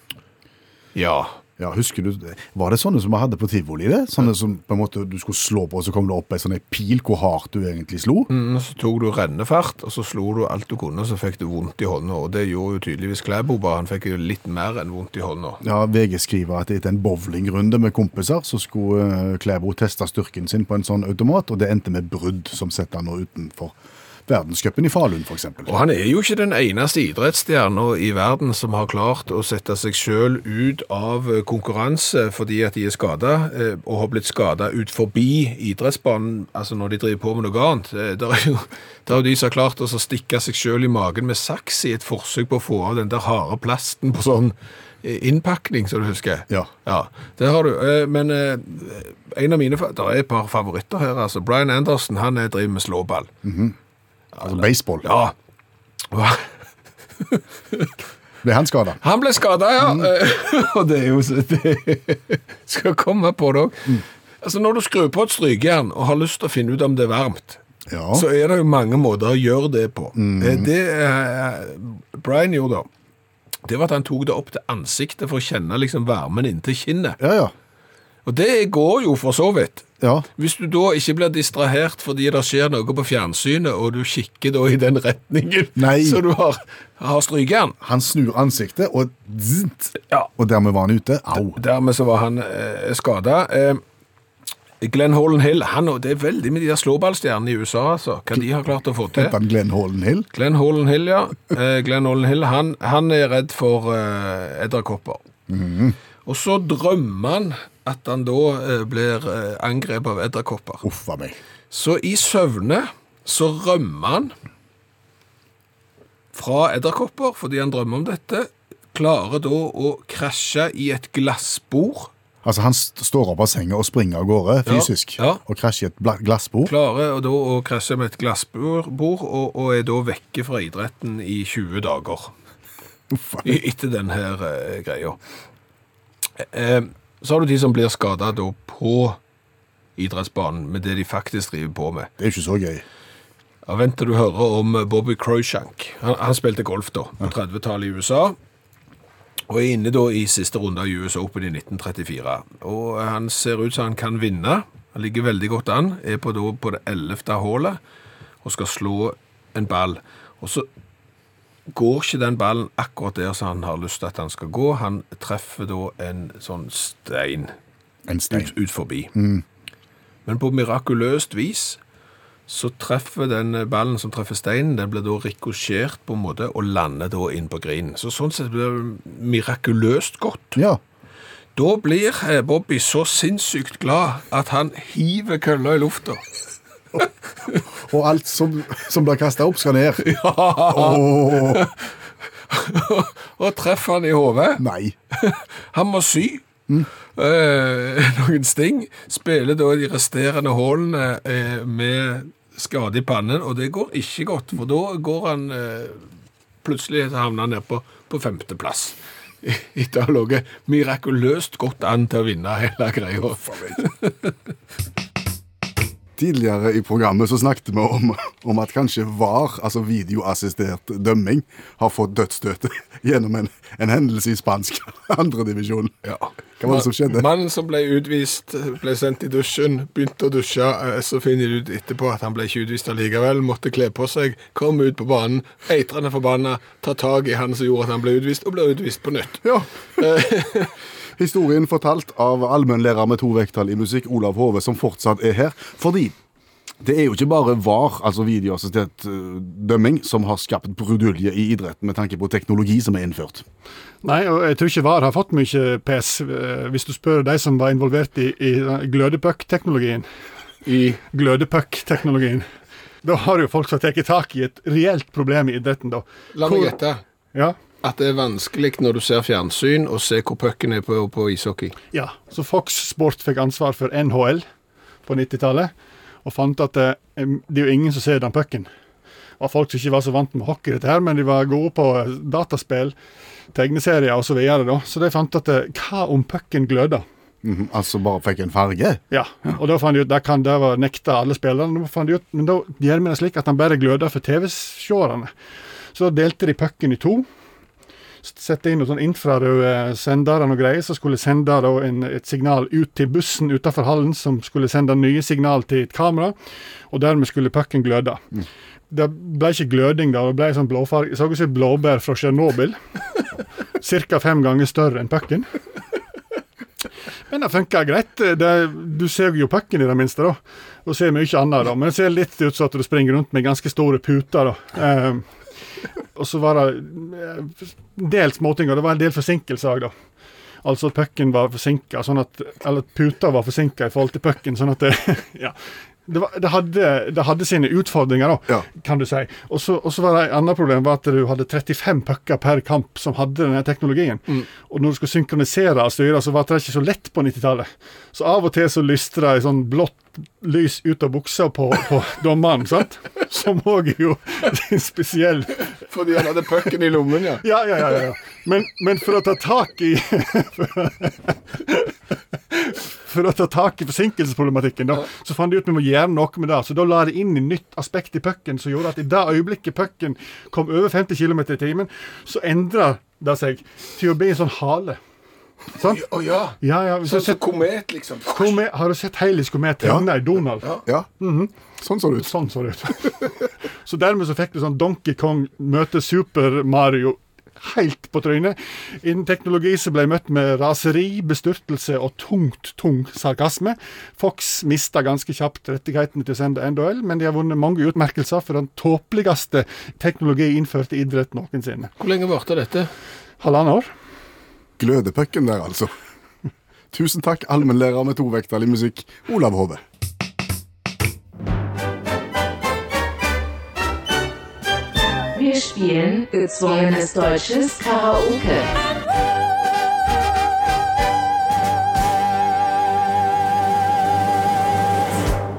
C: Ja.
B: Ja, husker du, det? Var det sånne som vi hadde på tivoli? det? Sånne som på en måte du skulle slå på, og så kom det opp ei sånn ei pil hvor hardt du egentlig slo?
C: Mm, Så tok du rennefart, og så slo du alt du kunne, og så fikk du vondt i hånda. Og det gjorde jo tydeligvis Klæbo, bare han fikk jo litt mer enn vondt i hånda.
B: Ja, VG skriver at etter en bowlingrunde med kompiser, så skulle eh, Klæbo teste styrken sin på en sånn automat, og det endte med brudd, som setter han nå utenfor verdenscupen i Falun, f.eks.
C: Og han er jo ikke den eneste idrettsstjerna i verden som har klart å sette seg sjøl ut av eh, konkurranse fordi at de er skada, og har blitt skada ut forbi idrettsbanen, altså når de driver på med noe annet. Det er jo, der er jo de som har klart å så stikke seg sjøl i magen med saks i et forsøk på å få av den der harde plasten på sånn eh, innpakning, som du husker.
B: Ja.
C: Ja, det har du. Eh, Men eh, en av mine fa- Det er et par favoritter her, altså. Brian Anderson, han eh, driver med slåball.
B: Altså baseball.
C: Ja. Og-
B: Ble han skada?
C: Han ble skada, ja.
B: Mm.
C: og det er jo så det Skal komme på det òg.
B: Mm.
C: Altså, når du skrur på et strykejern og har lyst til å finne ut om det er varmt,
B: Ja. Mm.
C: så er det jo mange måter å gjøre det på. Eh, Det eh, Brian gjorde da, det var at han tok det opp til ansiktet for å kjenne liksom varmen inntil kinnet.
B: ja, ja.
C: Og det går jo for så vidt.
B: Ja,
C: Hvis du da ikke blir distrahert fordi det skjer noe på fjernsynet, og du kikker da i den retningen
B: Nei.
C: så du har, har strykeren
B: han snur ansiktet, og zzzt,
C: Ja.
B: og dermed var han ute. Au.
C: Dermed så var han eh, skada. Eh, Glenn Holland Hill han, og Det er veldig med de der slåballstjernene i USA, altså. Hva de har klart å få til.
B: Heter han Glenn Holden Hill?
C: Glenn Holland Hill, ja. Eh, Glenn Holland Hill, han, han er redd for eh, edderkopper. Og så drømmer han at han da eh, blir eh, angrepet av edderkopper.
B: Uff a meg.
C: Så i søvne så rømmer han fra edderkopper, fordi han drømmer om dette, klarer da å krasje i et glassbord,
B: Altså, han st står opp av senga og springer av gårde fysisk,
C: ja.
B: og krasjer i et bla- glassbord.
C: klarer da å krasje med et glassbord, bord, og, og er da vekke fra idretten i 20 dager.
B: Uff a meg.
C: I- etter den her eh, greia. Eh, så har du de som blir skada da på idrettsbanen med det de faktisk driver på med.
B: Det er jo ikke så gøy.
C: Ja, Vent til du hører om Bobby Croshank. Han, han spilte golf da, på 30-tallet i USA. Og er inne da i siste runde av US Open i 1934. Og han ser ut som han kan vinne. Han ligger veldig godt an. Er på, da, på det 11. hålet og skal slå en ball. Og så går ikke den ballen akkurat der som han har lyst til at han skal gå. Han treffer da en sånn stein
B: En stein.
C: ut, ut forbi. Men på mirakuløst vis så treffer den ballen som treffer steinen, den blir da rikosjert på en måte og lander da inn på grinen. Så sånn sett blir det mirakuløst godt.
B: Ja.
C: Da blir eh, Bobby så sinnssykt glad at han hiver kølla i lufta.
B: Og alt som, som blir kasta opp, skal ned.
C: og treffer han i hodet.
B: Nei.
C: Han må sy. Eh, noen sting. Spiller da de resterende hålene eh, med skade i pannen, og det går ikke godt, for da går han eh, plutselig så havner han ned på, på femteplass. Etter å ha ligget mirakuløst godt an til å vinne hele greia.
B: Tidligere i programmet så snakket vi om, om at kanskje VAR, altså videoassistert dømming, har fått dødsstøtet gjennom en, en hendelse i spansk andredivisjon.
C: Ja.
B: Hva var det som skjedde?
C: Mannen som ble utvist, ble sendt i dusjen, begynte å dusje. eh, Så finner de ut etterpå at han ble ikke utvist allikevel. Måtte kle på seg, kom ut på banen, eitrende forbanna, tar tak i han som gjorde at han ble utvist, og ble utvist på nytt.
B: Ja. Eh. Historien fortalt av allmennlærer med to vekttall i musikk, Olav Hove, som fortsatt er her. Fordi det er jo ikke bare VAR, altså videoassistert eh, dømming, som har skapt brudulje i idretten med tanke på teknologi som er innført.
F: Nei, og jeg tror ikke VAR har fått mye pes, eh, hvis du spør de som var involvert i, i glødepøkk-teknologien.
G: I
F: Glødepøkk-teknologien. Da har jo folk som har tatt tak i et reelt problem i idretten, da.
C: La
F: Hvor-
C: meg gjette
F: Ja,
C: at det er vanskelig når du ser fjernsyn, å se hvor pucken er på, på ishockey.
F: Ja, så Fox Sport fikk ansvar for NHL på 90-tallet, og fant at eh, det er jo ingen som ser den pucken. Det var folk som ikke var så vant med hockey, dette her, men de var gode på eh, dataspill, tegneserier osv. Så, videre da. så de fant at eh, hva om pucken gløder?
B: Mhm, Altså bare fikk en farge.
F: Ja, og da fant de ut, da kan det være nekta alle spillerne, da fant de ut, men da gjør vi det slik at han bare gløder for TV-seerne. Så da delte de pucken i to, s- sette inn noen sånne infrarøde sendere og greier, som skulle sende da en, et signal ut til bussen utenfor hallen, som skulle sende nye signal til et kamera, og dermed skulle pucken gløde. Det ble ikke gløding da, det ble sånn blåfarge, det så ut som et blåbær fra Tsjernobyl. Cirka fem ganger større enn pucken. Men det funker greit. Det, du ser jo pucken i det minste, da. Og ser mye annet, da. Men det ser litt ut som at du springer rundt med ganske store puter, da. Ehm, og så var det eh, en del småting, og det var en del forsinkelser òg, da. Altså at pucken var forsinka, sånn at Eller at puta var forsinka i forhold til pucken, sånn at det Ja. Det, var, det, hadde, det hadde sine utfordringer, da,
B: Ja.
F: kan du si. Og så og så var det et annet problem var at du hadde 35 pucker per kamp som hadde denne teknologien. Og når du skulle synkronisere og styre, så var det ikke så lett på 90-tallet. Så av og til så lyste det sånn blått lys ut av buksa på, på dommeren, sant? Som òg er jo en spesiell
G: Fordi han hadde pucken i lommen, ja.
F: Ja, ja, ja. ja, ja. Men, men for å ta tak i For å ta tak i forsinkelsesproblematikken, da, så fant de ut vi må gjøre noe med det. Så da la de inn et nytt aspekt i pucken som gjorde at i det øyeblikket pucken kom over 50 km i timen, så endra det seg til å bli en sånn hale. Sant?
G: Å ja.
F: Ja, ja, hvis
G: Sånn
F: du har,
G: som
F: sett,
G: komet, liksom.
F: komet, har du sett Helisk komet tegne i Donald?
G: Ja.
B: Ja. Sånn så det ut.
F: Sånn så det ut. så dermed så fikk du sånn Donkey Kong møter Super Mario helt på trynet. Innen teknologi så ble jeg møtt med raseri, bestyrtelse og tungt, tung sarkasme. Fox mista ganske kjapt rettighetene til å sende NHL, men de har vunnet mange utmerkelser for den tåpeligste teknologi innført i idrett noensinne.
C: Hvor lenge varte dette?
F: Halvannet år?
B: Glødepucken der, altså. Tusen takk, allmennlærer med tovektig musikk, Olav Hove.
I: Wir spielen gezwungenes deutsches Karaoke.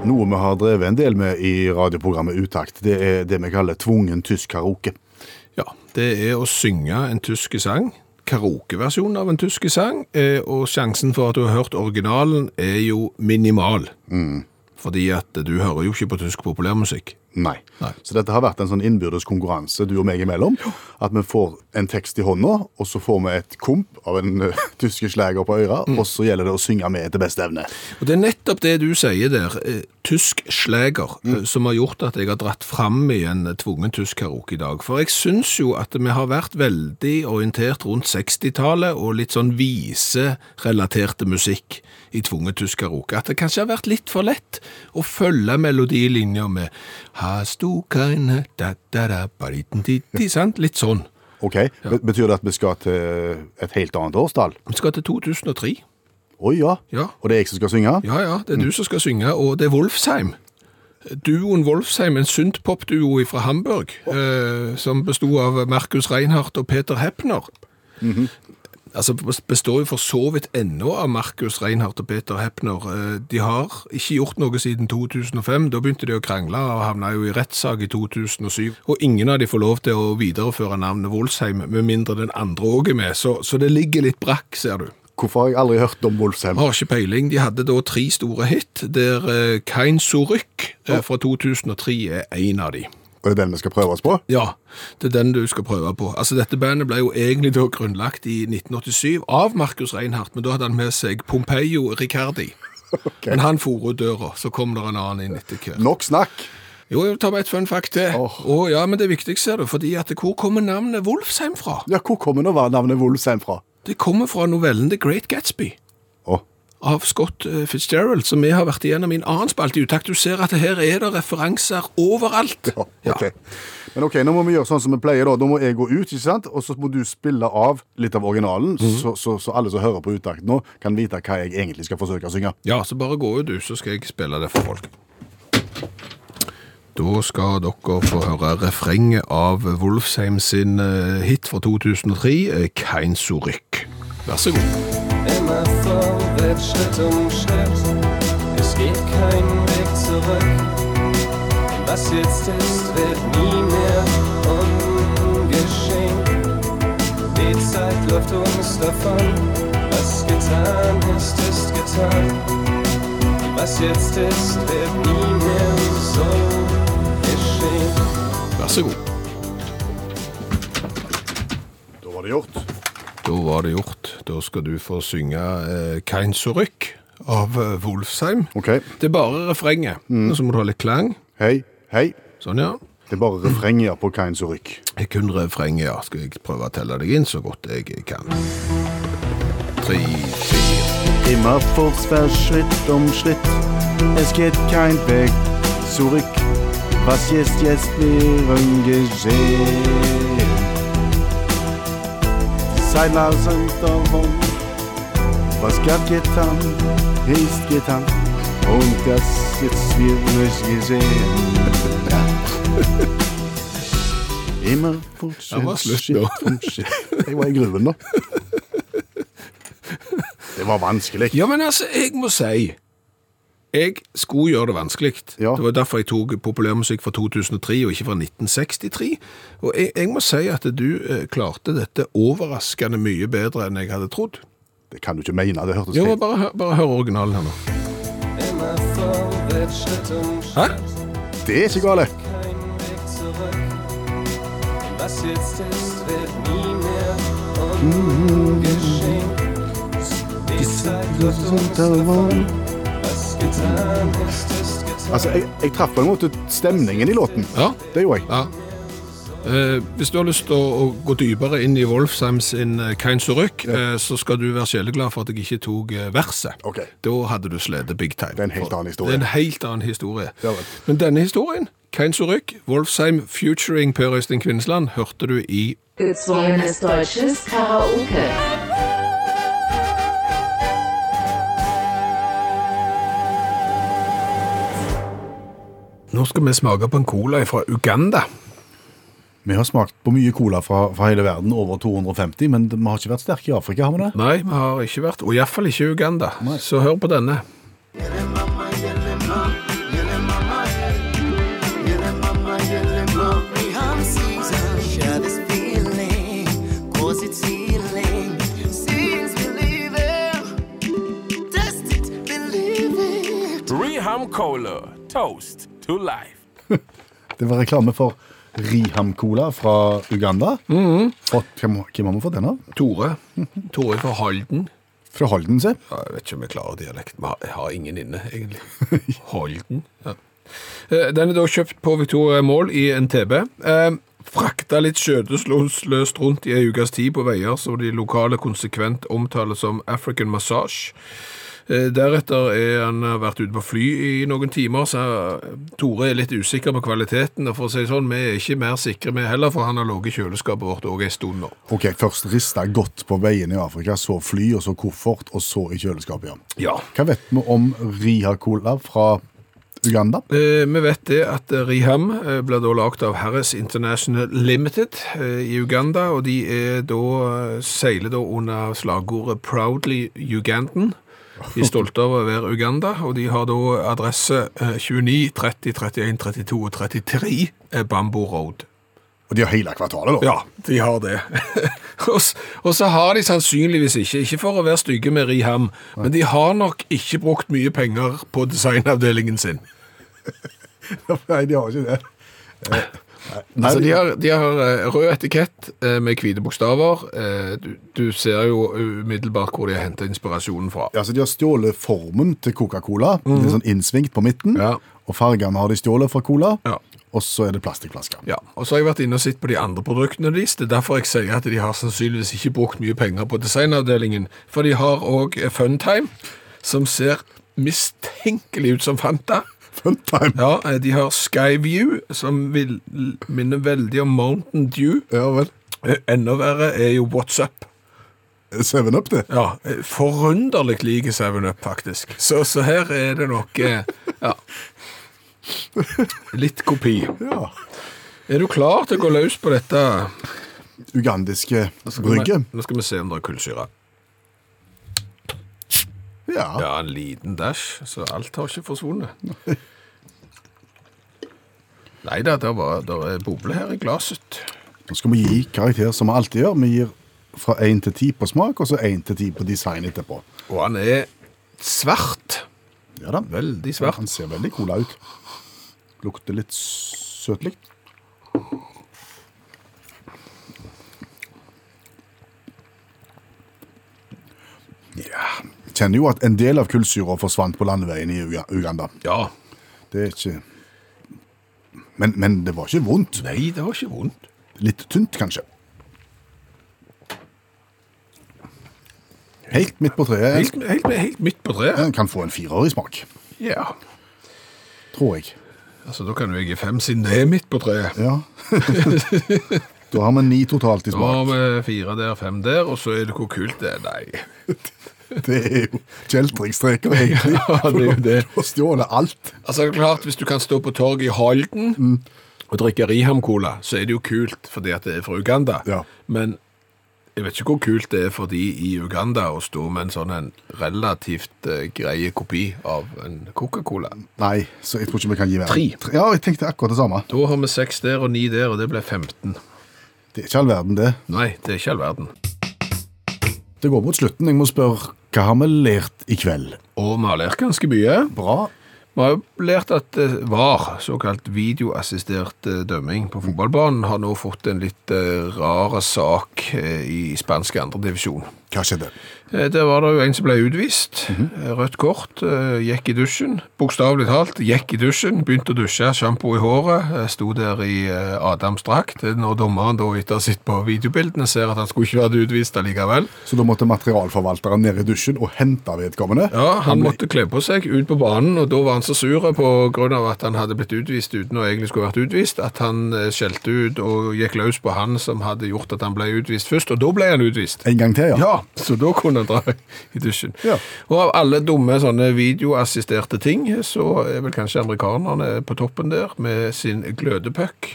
B: Noe vi har drevet en del med i radioprogrammet Utakt, det er det vi kaller tvungen tysk karaoke.
C: Ja, det er å synge en tyske sang, karaokeversjon av en tyske sang, eh, og sjansen for at du har hørt originalen er jo minimal. Fordi at du hører jo ikke på tysk populærmusikk.
B: Nei.
C: Nei.
B: Så dette har vært en sånn innbyrdes konkurranse du og meg imellom. At vi får en tekst i hånda, og så får vi et komp av en eh, tyske slager på øra, og så gjelder det å synge med etter beste evne.
C: Og Det er nettopp det du sier der, eh, tysk sleger, eh, som har gjort at jeg har dratt fram igjen eh, tvungen tysk karaoke i dag. For jeg syns jo at vi har vært veldig orientert rundt 60-tallet og litt sånn viserelaterte musikk i tvungen tysk karaoke. At det kanskje har vært litt for lett å følge melodilinja med Hast du keine da da da bariten ditti, sant? Litt sånn.
B: Ok, Be- Betyr det at vi skal til et helt annet årstall?
C: Vi skal til 2003.
B: Å ja.
C: Ja.
B: Og det er jeg som skal synge?
C: Ja, ja, det er du som skal synge, og det er Wolfsheim. Duoen Wolfsheim, en syntpopduo fra Hamburg, eh, som bestod av Markus Reinhardt og Peter Heppner. Altså, består jo for så vidt ennå av Markus Reinhardt og Peter Heppner. Eh, De har ikke gjort noe siden 2005. Da begynte de å krangle og havna jo i rettssak i 2007. Og ingen av de får lov til å videreføre navnet Wolfsheim, med mindre den andre òg er med. Så, så det ligger litt brakk, ser du.
B: Hvorfor har jeg aldri hørt om Wolfsheim?
C: Har ikke peiling. De hadde da tre store hit, der eh, Kein Sorykk eh, fra 2003 er en av de.
B: Og det er den vi skal prøve oss på?
C: Ja, det er den du skal prøve på. Altså, Dette bandet ble jo egentlig da grunnlagt i 1987 av Markus Reinhardt, men da hadde han med seg Pompeio Riccardi. Men han for ut døra, så kom det en annen inn etter hvert.
B: Nok snakk!
C: Jo, jo, ta med et fun fact til. Å
B: Åh.
C: ja, men det er viktig, ser du, fordi at hvor kommer navnet Wolfsheim fra?
B: Ja, Hvor kommer nå navnet Wolfsheim fra?
C: Det kommer fra novellen The Great Gatsby.
B: Å,
C: av Scott eh, Fitzgerald, som vi har vært igjennom i en annen spalte i utakt. Du ser at her er det referanser overalt.
B: ja, ok. Men ok, nå må vi gjøre sånn som vi pleier. da. Nå må jeg gå ut, ikke sant? og så må du spille av litt av originalen, så, så, så alle som hører på Utakt nå, kan vite hva jeg egentlig skal forsøke å synge.
C: Ja, så bare gå ut du, så skal jeg spille det for folk. Da skal dere få høre refrenget av Wolfsheim sin eh, hit fra 2003, eh, Kein Sorykk. Vær så god.
J: Immer vorwärts, Schritt um Schritt. Es geht kein Weg zurück. Was jetzt ist, wird nie mehr ungeschehen. Die Zeit läuft uns davon. Was getan ist, ist getan. Was jetzt ist, wird nie mehr so geschehen.
C: Vær så god.
B: Da var det gjort.
C: Da var det gjort. Da skal du få synge eh, Kein Sorykk av eh, Wolfsheim.
B: Ok,
C: Det er bare refrenget. Og Så må du ha litt klang.
B: hei, hei.
C: Sånn, ja.
B: Det er bare refrenger på Kain Surykk.
C: Jeg kun refrenget, ja. Skal jeg prøve å telle deg inn så godt jeg kan? Tre, fire
B: Immer vorwärts, Schritt um Schritt. Es geht kein Weg zurück. Was ist jetzt wären geschehen? Sei langsam darum. Was gab getan, ist getan. Und das jetzt wird nicht gesehen. Immer
C: Den var
B: fortsatt
C: slutt
B: Schritt
C: nå.
B: om Schritt. Jeg var i gruven, da. Det var vanskelig.
C: Ja, men altså, jeg må si Jeg skulle gjøre det vanskelig.
B: Ja.
C: Det var derfor jeg tok populærmusikk fra 2003 og ikke fra 1963. Og jeg, jeg må si at du eh, klarte dette overraskende mye bedre enn jeg hadde trodd.
B: Det kan du ikke mene. Det hørtes
C: Jo,
B: helt
C: bare, hør- bare hør originalen her nå.
J: Immer vorwärts, Schritt um Schritt.
C: Hæ?
B: Det er ikke gale.
J: kein Weg zurück. um
B: Mhm.
J: Was jetzt ist, wird nie mehr ungeschehen. Luft und Telefon. Was getan ist, ist getan.
B: Altså, jeg, jeg traff på en måte stemningen i låten.
C: Ja.
B: Det gjorde jeg.
C: Ja. Eh, hvis du har lyst til å, å gå dypere inn i Wolfsheim sin eh, Kein Zurück, eh, så skal du være sjeleglad for at jeg ikke tok eh, verset.
B: Ok.
C: Da hadde du slitt big time.
B: Det er en helt annen historie.
C: Det er en helt annen historie.
B: Ja vel.
C: Men denne historien, Kein Zurück, Wolfsheim featuring Per Øystein Kvinnsland, hørte du i
I: Gezwungenes deutsches Karaoke.
C: Nå skal vi smake på en cola fra Uganda.
B: Vi har smakt på mye cola fra, fra hele verden, over 250, men vi har ikke vært sterke i Afrika, har vi det?
C: Nei, vi har ikke vært, og iallfall ikke i Uganda. Så hør på denne.
K: Reham Cola, toast to life.
B: Det var reklame for Riham Cola fra Uganda.
C: Mhm.
B: Og hvem, hvem har vi fått den av?
C: Tore. Tore fra Halden.
B: Fra Halden, se.
C: Ja, Jeg vet ikke om jeg klarer dialekt. Vi har- Jeg har ingen inne, egentlig. Holden. Ja. Eh, Den er da kjøpt på Victoria Mall i en TB. Eh, Frakta litt skjødesløst rundt i ei ukes tid på veier som de lokale konsekvent omtaler som African massage. Eh, Deretter er han eh, vært ute på fly i noen timer, så eh, Tore er litt usikker på kvaliteten. og for å si det sånn, Vi er ikke mer sikre vi heller, for han har ligget i kjøleskapet vårt òg en stund nå.
B: Ok, Først rista godt på veien i Afrika, så fly, og så koffert, og så i kjøleskapet igjen.
C: Ja,
B: Hva vet vi om Riha Cola fra Uganda?
C: Eh, Vi vet det at eh, Riham eh, ble da lagt av Harris International Limited eh, i Uganda, og de er da, eh, seiler da under slagordet Proudly Ugandan. De er stolte av å være Uganda, og de har da adresse eh, 29, 30, 31, 32 og 33 eh, Bambo Road.
B: Og de har hele kvartalet, da.
C: Ja, de har det. og, s- og så har de sannsynligvis ikke, ikke for å være stygge med Riham, men de har nok ikke brukt mye penger på designavdelingen sin.
B: Nei, de har ikke det. Eh, Nei,
C: Altså, de, har, de har eh, rød etikett eh, med hvite bokstaver. Eh, Du, du ser jo eh, umiddelbart hvor de har henta inspirasjonen fra.
B: Ja, så De har stjålet formen til Coca-Cola. Litt sånn innsvingt på midten.
C: Mhm. Ja.
B: Og fargene har de stjålet fra cola.
C: Ja.
B: Og så er det plastikkflasker.
C: Ja, og så har jeg vært inne og sett på de andre produktene deres. Det er derfor jeg sier at de har sannsynligvis ikke brukt mye penger på designavdelingen. For de har òg Funtime, som ser mistenkelig ut som Fanta.
B: Fun time!
C: Ja, eh, De har Skyview, som vil, minner veldig om Mountain Dew.
B: Ja vel.
C: Eh, Enda verre er jo WhatsApp.
B: Seven up, det.
C: Ja, eh, forunderlig like 7-Up, faktisk. Så, så her er det nok eh, ja. Litt kopi.
B: Ja.
C: Er du klar til å gå løs på dette?
B: Ugandiske brygge.
C: Nå skal vi se om det er kullsyre.
B: Ja.
C: Ja, en liten dash, så alt har ikke forsvunnet. Nei da, der, var, der er boble her i glasset.
B: Nå skal vi gi karakter som vi alltid gjør. Vi gir fra 1 til 10 på smak, og så 1 til 10 på design etterpå.
C: Og han er svart.
B: Ja da.
C: Veldig svart.
B: Han ser veldig cola ut. Lukter litt søtlig. Ja Kjenner jo at en del av kullsyra forsvant på landeveien i Uga- Uganda.
C: Ja.
B: Det er ikke Men, men det var ikke vondt.
C: Nei, det var ikke vondt.
B: Litt tynt, kanskje. Helt midt på treet.
C: Helt, helt, helt midt på treet.
B: En kan få en firer i smak,
C: Ja.
B: tror jeg.
C: Altså, da kan jo jeg gi fem, siden det er midt på treet.
B: Ja. da har vi ni totalt i
C: Nå har
B: smak.
C: vi fire der, fem der, og så er det hvor kult det er. Nei.
B: Det er jo kjeltringstreker, egentlig.
C: Ja, det er jo det.
B: Du har stjålet alt.
C: Altså, det er klart, hvis du kan stå på torget i Halden og drikke Riham-cola, så er det jo kult fordi at det er fra Uganda.
B: Ja.
C: Men jeg vet ikke hvor kult det er for de i Uganda å stå med en sånn en relativt eh, greie kopi av en Coca-Cola.
B: Nei, så jeg tror ikke vi kan gi mer.
C: Tre.
B: Ja, jeg tenkte akkurat det samme.
C: Da har vi seks der og ni der, og det ble 15.
B: Det er ikke all verden, det.
C: Nei, det er ikke all verden.
B: Det går mot slutten. Jeg må spørre hva har vi lært i kveld?
C: Og vi har lært ganske mye.
B: Bra.
C: Vi har jo lært at eh, VAR, såkalt videoassistert eh, dømming på fotballbanen, har nå fått en litt eh, rar sak eh, i spansk andredivisjon.
B: Hva skjedde?
C: Eh, Der var det jo en som ble utvist. Eh, Rødt kort. eh, Gikk i dusjen. Bokstavelig talt gikk i dusjen. Begynte å dusje, sjampo i håret. eh, Sto der i eh, Adams drakt. Eh, Når dommeren da etter å ha sett på videobildene ser at han skulle ikke vært utvist allikevel.
B: Så da måtte materialforvalteren ned i dusjen og hente vedkommende?
C: Ja, Han
B: ble-
C: måtte kle på seg ut på banen, og da var han så sur på grunn av at han hadde blitt utvist uten å egentlig skulle vært utvist, at han eh, skjelte ut og gikk løs på han som hadde gjort at han ble utvist først, og da ble han utvist.
B: En gang til, ja.
C: Ja, så da kunne han dra i dusjen.
B: Ja.
C: Og av alle dumme sånne videoassisterte ting, så er vel kanskje amerikanerne på toppen der med sin glødepuck.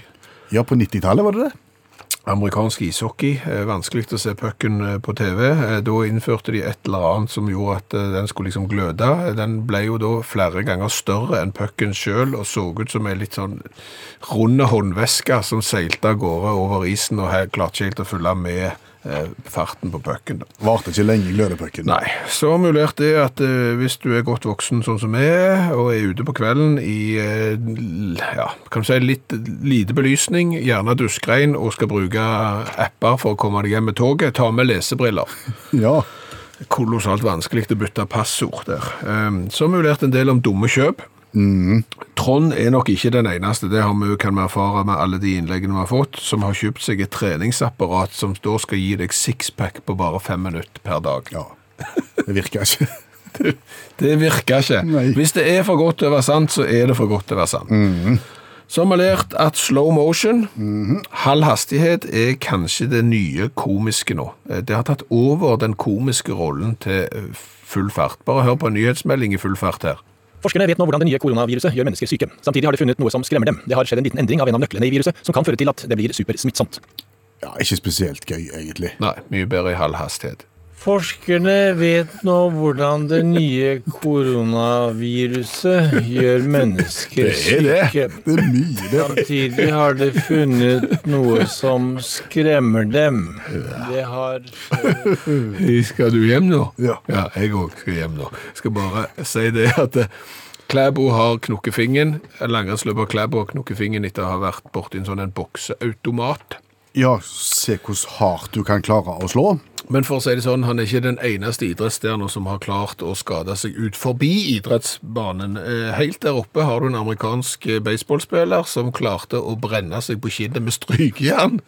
B: Ja, på 90-tallet var det det?
C: Amerikansk ishockey, eh, vanskelig å se pucken eh, på TV. Eh, Da innførte de et eller annet som gjorde at eh, den skulle liksom gløde. Eh, Den ble jo da flere ganger større enn pucken sjøl og så ut som ei litt sånn runde håndveske som seilte av gårde over isen og her klarte ikke helt å følge med eh, farten på pucken. da.
B: Varte ikke lenge, glødepucken.
C: Nei. Så mulert det at eh, hvis du er godt voksen sånn som jeg, og er ute på kvelden i eh, l- ja, kan du si litt lite belysning, gjerne duskregn, og skal bruke apper for å komme deg hjem med toget, ta med lesebriller.
B: Ja.
C: Kolossalt vanskelig å bytte passord der. Eh, Så mulert en del om dumme kjøp. Trond er nok ikke den eneste, det har vi, kan vi erfare med alle de innleggene vi har fått, som har kjøpt seg et treningsapparat som da skal gi deg sixpack på bare fem minutter per dag.
B: ja. Det virka ikke.
C: Det virker ikke.
B: Nei.
C: Hvis det er for godt til å være sant, så er det for godt til å være sant.
B: Mhm.
C: Så har vi lært at slow motion, halv hastighet, er kanskje det nye komiske nå. Eh, Det har tatt over den komiske rollen til eh, full fart. Bare hør på en nyhetsmelding i full fart her.
L: Forskerne vet nå hvordan det nye koronaviruset gjør mennesker syke. Samtidig har de funnet noe som skremmer dem. Det har skjedd en liten endring av en av nøklene i viruset, som kan føre til at det blir supersmittsomt.
B: Ja, Ikke spesielt gøy, egentlig.
C: Nei, mye bedre i halv hastighet.
E: Forskerne vet nå hvordan det nye koronaviruset gjør mennesker syke.
B: Det er mye, det.
E: Samtidig har de funnet noe som skremmer dem. Det har
C: Skal du hjem nå?
B: Ja.
C: Ja, jeg òg skal hjem nå. Skal bare si det at eh, Klæbo har knukket fingeren. Langrennsløper Klæbo har knukket fingeren etter å ha vært borti en sånn en bokseautomat.
B: Ja, se hvor hardt du kan klare å slå.
C: Men for å si det sånn, han er ikke den eneste idrettsstjerna som har klart å skade seg ut forbi idrettsbanen. Eh, Helt der oppe har du en amerikansk eh, baseballspiller som klarte å brenne seg på kinnet med strykejern.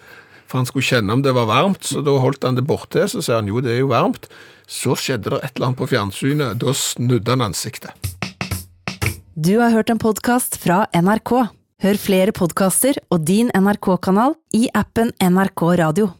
C: For han skulle kjenne om det var varmt, så da holdt han det borte. Så sier han jo, det er jo varmt. Så skjedde det et eller annet på fjernsynet. Da snudde han ansiktet.
A: Du har hørt en podkast fra NRK. Hør flere podkaster og din NRK-kanal i appen NRK Radio.